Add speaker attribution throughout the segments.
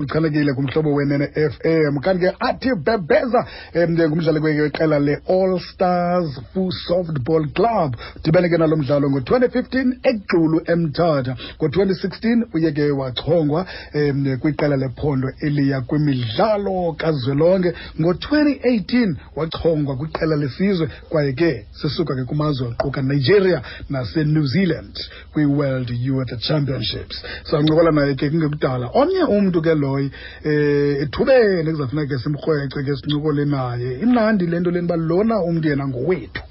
Speaker 1: uchanekile kumhlobo wenene FM kanti ke athi bhebheza eh, em, ngumdlali ke weqela le-all stars full softball club dibene ke nalo mdlalo ngo-2015 egxulu emthatha ngo-2016 uye ke wachongwa em, kwiqela lephondo eliya kwimidlalo kazwelonke ngo-2018 wachongwa kwiqela lesizwe kwaye ke sisuka ke kumazwe aquka nigeria nasenew zealand kwi-world youth championships sancokola naye ke kungekudala omnye umntu ke loyi um ethubeni kuzawufuneka ke simrhwece ke sincokole naye imnandi le nto leni uba lona umntu yena ngowethu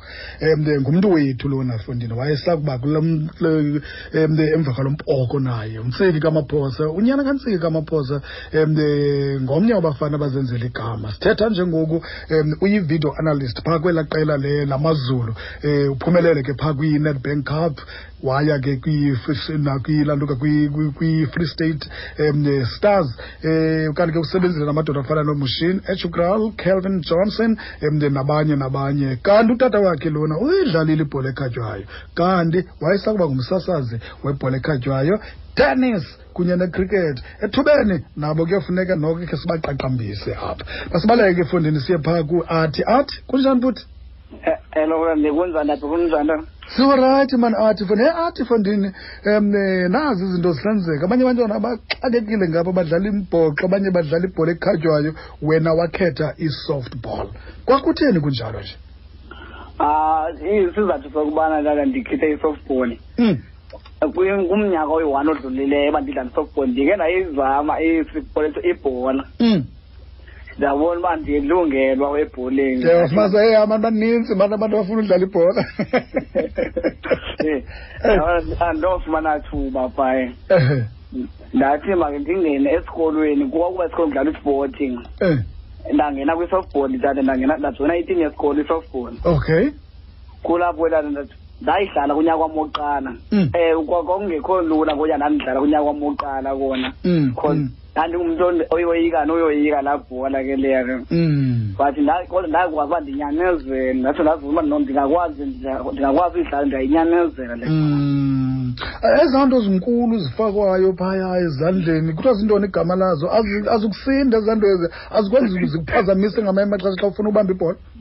Speaker 1: um ngumntu wethu lona fondini wayesakuba kula m- le- em, de- emva kwalo mpoko naye umtsiki kamaphosa unyana kantsiki kamaphosa um ngomnye wabafana abazenzela igama sithetha njengoku um uyi-video analyst phaa kwela qela le lamazulu um uphumelele ke phaa kwi-netbank cup waya ke kwilantuka kwi-free state um stars um kanti ke usebenzile namadoda afana nomushin echukral calvin johnson um nabanye nabanye kanti utata wakhe lona uyidlalile ibhola ekhatywayo kanti wayesakuba ngumsasazi webhola ekhatywayo tennis kunye necricket ethubeni nabo kuyofuneka noko khe sibaqaqambise apha masibaleke ke fundini siye phaa ku-athi athi kunjani futhi
Speaker 2: Eh, Hello, ndikunjani kunjani?
Speaker 1: siwurayithi mani athi fondini athi fondini um eh, nazi izinto zihlenzeka abanye abantwana baxakekile ngapha badlala imbhoxo abanye badlala ibhola ekhatywayo wena wakhetha i-softball kwakutheni kunjalo nje
Speaker 2: Ah, isizathu sokubana kaka ndikhethe isoftball.
Speaker 1: Mm.
Speaker 2: Eh, kuye- Kumnyaka oyi-one odlulileyo uba ndidlala isoftball ndike ndayizama isipoleto ibhola
Speaker 1: Mm.
Speaker 2: ndabona uba ndilungelwa ebholeni
Speaker 1: ke wafumanisa hey eh, abantu baninzi abantu abantu abafuna udlala ibhola
Speaker 2: Eh, andofumana thuba phaya
Speaker 1: Eh,
Speaker 2: ndathi make ndingene esikolweni kwakuba isikolo ndidlala isporting
Speaker 1: eh,
Speaker 2: ndangena kwi-softball ndithathe ndangena ndajoyina itim yesikolo i-softball
Speaker 1: okay
Speaker 2: kulapho elana ndathi ndayidlala kunyaka wam wokuqala
Speaker 1: Mm.
Speaker 2: um kwakungekho lula ngoya ndandidlala kunyaka wam wokuqala kona
Speaker 1: Mm,
Speaker 2: cause
Speaker 1: mm,
Speaker 2: ndandingumntu oyoyika noyoyika laa bhola ke leyo
Speaker 1: mm.
Speaker 2: but nda- kodwa ndakwazi uba ndinyamezele ndatsho ndazuma uba no ndingakwazi ndiya- ndingakwazi uyidlala ndiyayinyamezela le
Speaker 1: Mm. ezaa nto zinkulu zifakwayo phaya ezandleni kuthiwa zintoni igama lazo Azi- azikusinda ezaa nto ezi azikwenzi zikuphazamise ngamanye amaxesha xa ufuna ubamba ibhola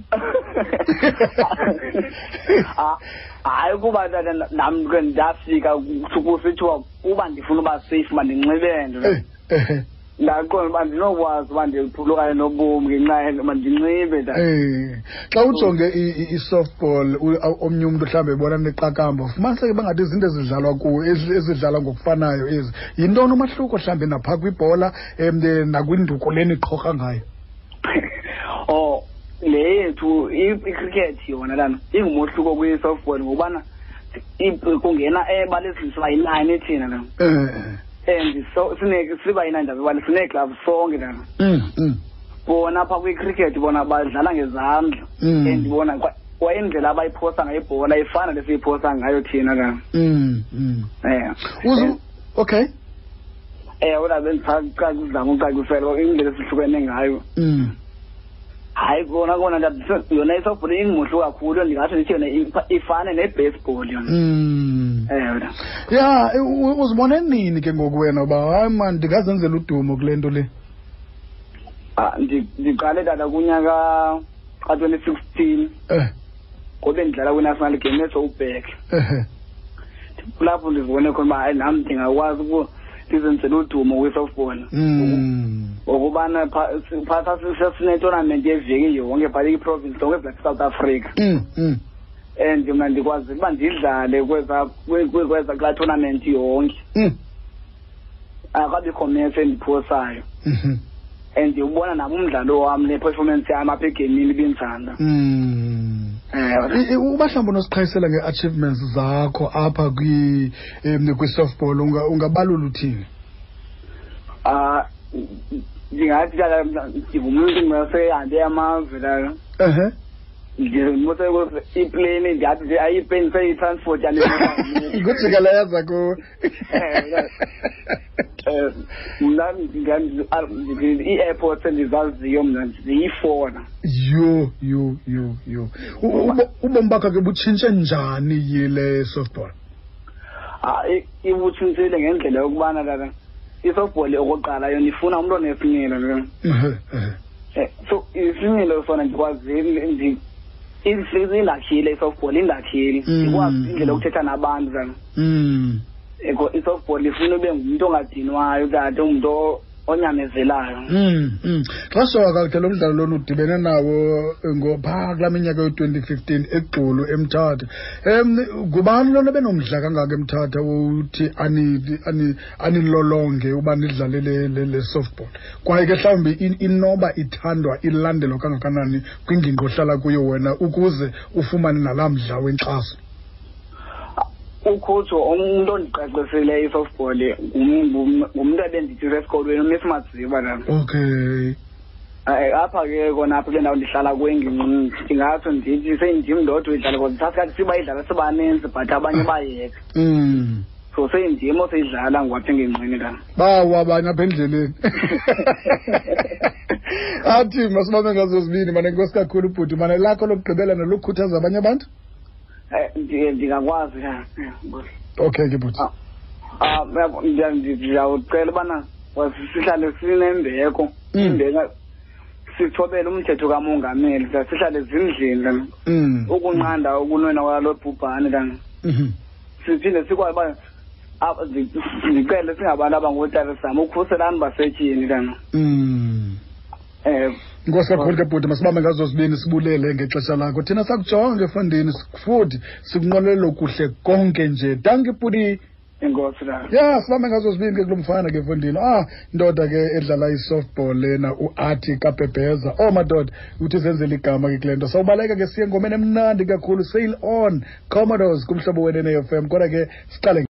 Speaker 2: Ah, hayi kuba tata na- nam ke ndafika kuthi- kusithiwa uba ndifuna uba safe mandinxibe nto
Speaker 1: Eh, eh,
Speaker 2: ndaqonda uba ndinokwazi uba ndiphulukane nobomi ngenxa yento uba ndinxibe tata
Speaker 1: eh. xa ujonge i- i- i-softball u- a- omnye umntu mhlawumbi ebona neqakamba fumaniseke bangathi izinto ezidlalwa kuwo ezi- ezidlalwa ngokufanayo ezi yintoni umahluko mhlawumbi naphaa kwibhola um nakwinduku leniqhorha ngayo
Speaker 2: oh le yethu i- i-cricket yona lana ingumohluko kwi-softball ngokubana i- kungena ebalezini siba yinani thina lana
Speaker 1: Eh,
Speaker 2: and so- sine- siba yinani ndaba bani sineeklabhu sonke lana
Speaker 1: eh. Mm, mm,
Speaker 2: bona phaa kwi-cricket bona badlala ngezandla
Speaker 1: Mm.
Speaker 2: and bona kwa- kwa indlela abayiphosa ngayo ibhola ifana lesiyiphosa ngayo thina lana
Speaker 1: mm, mm.
Speaker 2: um
Speaker 1: Uzu- okay
Speaker 2: ewe ndabendizama ucacisela indlela esihlukene ngayo
Speaker 1: Mm.
Speaker 2: hayi kona kona ndiyabisa- yona isoftball ingumohlu kakhulu ndingatsho ndithi yona ifa- ifane ne-baseball yona
Speaker 1: Mm.
Speaker 2: ewe
Speaker 1: ya e- u- uzibone nini ke ngoku wena uba hayi mani ndingazenzela udumo kule nto le
Speaker 2: Ah, ndi- ndiqale tata kunyaka ka-twenty sixteen
Speaker 1: Eh,
Speaker 2: ngobe ndidlala kwi-national game esowubhek
Speaker 1: ehe.
Speaker 2: kulapho ndizibone khona uba hayi nam ndingakwazi uku- ndizenzele udumo kwi-softball
Speaker 1: Mm.
Speaker 2: ngokubana phaa sesinetournament yeveki yonke phaa iprovince lonke black south africa
Speaker 1: Mm, mm.
Speaker 2: and mna ndikwazile uba ndidlale kweza kwe- kwe- kweza kulaa tournament yonke
Speaker 1: Mm.
Speaker 2: akabikho mese endiphosayo
Speaker 1: Mhm.
Speaker 2: and ndiwubona nam umdlalo wam ne-performance yam apha egemini ibinzanda
Speaker 1: Mm. I- i- uba mhlawumbi unosiqhayisela ngee-achievements zakho apha kwi- em, kwi-softball unga- ungabalula uthini
Speaker 2: um ndingathi tata mna ndingumntu ndisehambe amazwe laa
Speaker 1: ehe
Speaker 2: iplane ndiyathi nje ayi iplane seyitransport
Speaker 1: ngujikeleza kuwe
Speaker 2: Eh, mna ndinga- ah, ndi- ii-airports endizaziyo mna ziyifona
Speaker 1: yho yho yho yho U- ubo- ubomi bakho ke butshintshe njani yile softball
Speaker 2: Ah, i- ibutshintshile ngendlela yokubana tata isoftball okokuqala yona ifuna umntu onesimilo nje. Eh, so isimilo sona ndikwazile indakhile isoftball indakhile
Speaker 1: Mm.
Speaker 2: ndikwazi indlela yokuthetha nabantu zana
Speaker 1: Mm.
Speaker 2: Eko- isoftball ifuna ube ngumntu ongadinwayo kanti ungumntu o- onyamezelayo
Speaker 1: Mm, mm. xa soka kakhe lo mdlalo lona udibene nawo eh, ngophaa kulaa minyaka yo-twenty fifteen egxulu emthatha um ngubani lona benomdla kangaka emthatha uthi ani- ani- anilolonge uba nidlale le- le le softball kwaye ke mhlawumbi in- inoba ithandwa ilandelwa kangakanani kwingingqi ohlala kuyo wena ukuze ufumane nalaa mdla wenkxaso
Speaker 2: ukhutsho umntu ondiqaqisileyo isoftball ngum- ngum- ngumntu ebenditshisa esikolweni umiss maziba nam
Speaker 1: okay
Speaker 2: apha ke kona apha kule ndawo ndihlala kwengingqi ndingatsho ndithi sendimndodwa idlala because sasikhathi sibayidlala sibaninzi but abanye bayeka
Speaker 1: mm.
Speaker 2: so seyindim oseyidlala ngokwapha engingqini kana
Speaker 1: bawa abanye apha endleleni athi masibambe ngazo zibini mane nkosi kakhulu ubhuti mane lakho lokugqibela nolokukhuthaza abanye abantu
Speaker 2: Eh, ndi- ndingakwazi kana
Speaker 1: okay ke bhuti
Speaker 2: Ah. Ah, yabo, ndiya- ndi- ndiyawucela ubana was- sihlale sinembeko
Speaker 1: Mm.
Speaker 2: imbeko sithobele umthetho kamongameli siya- sihlale zindlini kana
Speaker 1: Mm.
Speaker 2: ukunqanda ukunwena kwalo bhubhane kana
Speaker 1: Mhm.
Speaker 2: siphinde sikwazi uba ah, ndi- ndicele singabantu abangootarisam ukukhuselani basetyhini kana
Speaker 1: Mm.
Speaker 2: um
Speaker 1: nkosi kakhulu ke bhuti masibambe ngazo zibini sibulele ngexesha lakho thina sakujonge efundini futhi sikunqolelo kuhle konke nje danki bhuti
Speaker 2: inkosi layo
Speaker 1: ya sibambe ngazo zibini ke kulo mfana ke efundini ah indoda ke edlala i-softball lena uarti kabhebheza oh madoda uthi zenzele igama ke kule nto sawubaleka ke siye ngomeni emnandi kakhulu sail on commodores kumhlobo wenene-f m kodwa ke siqale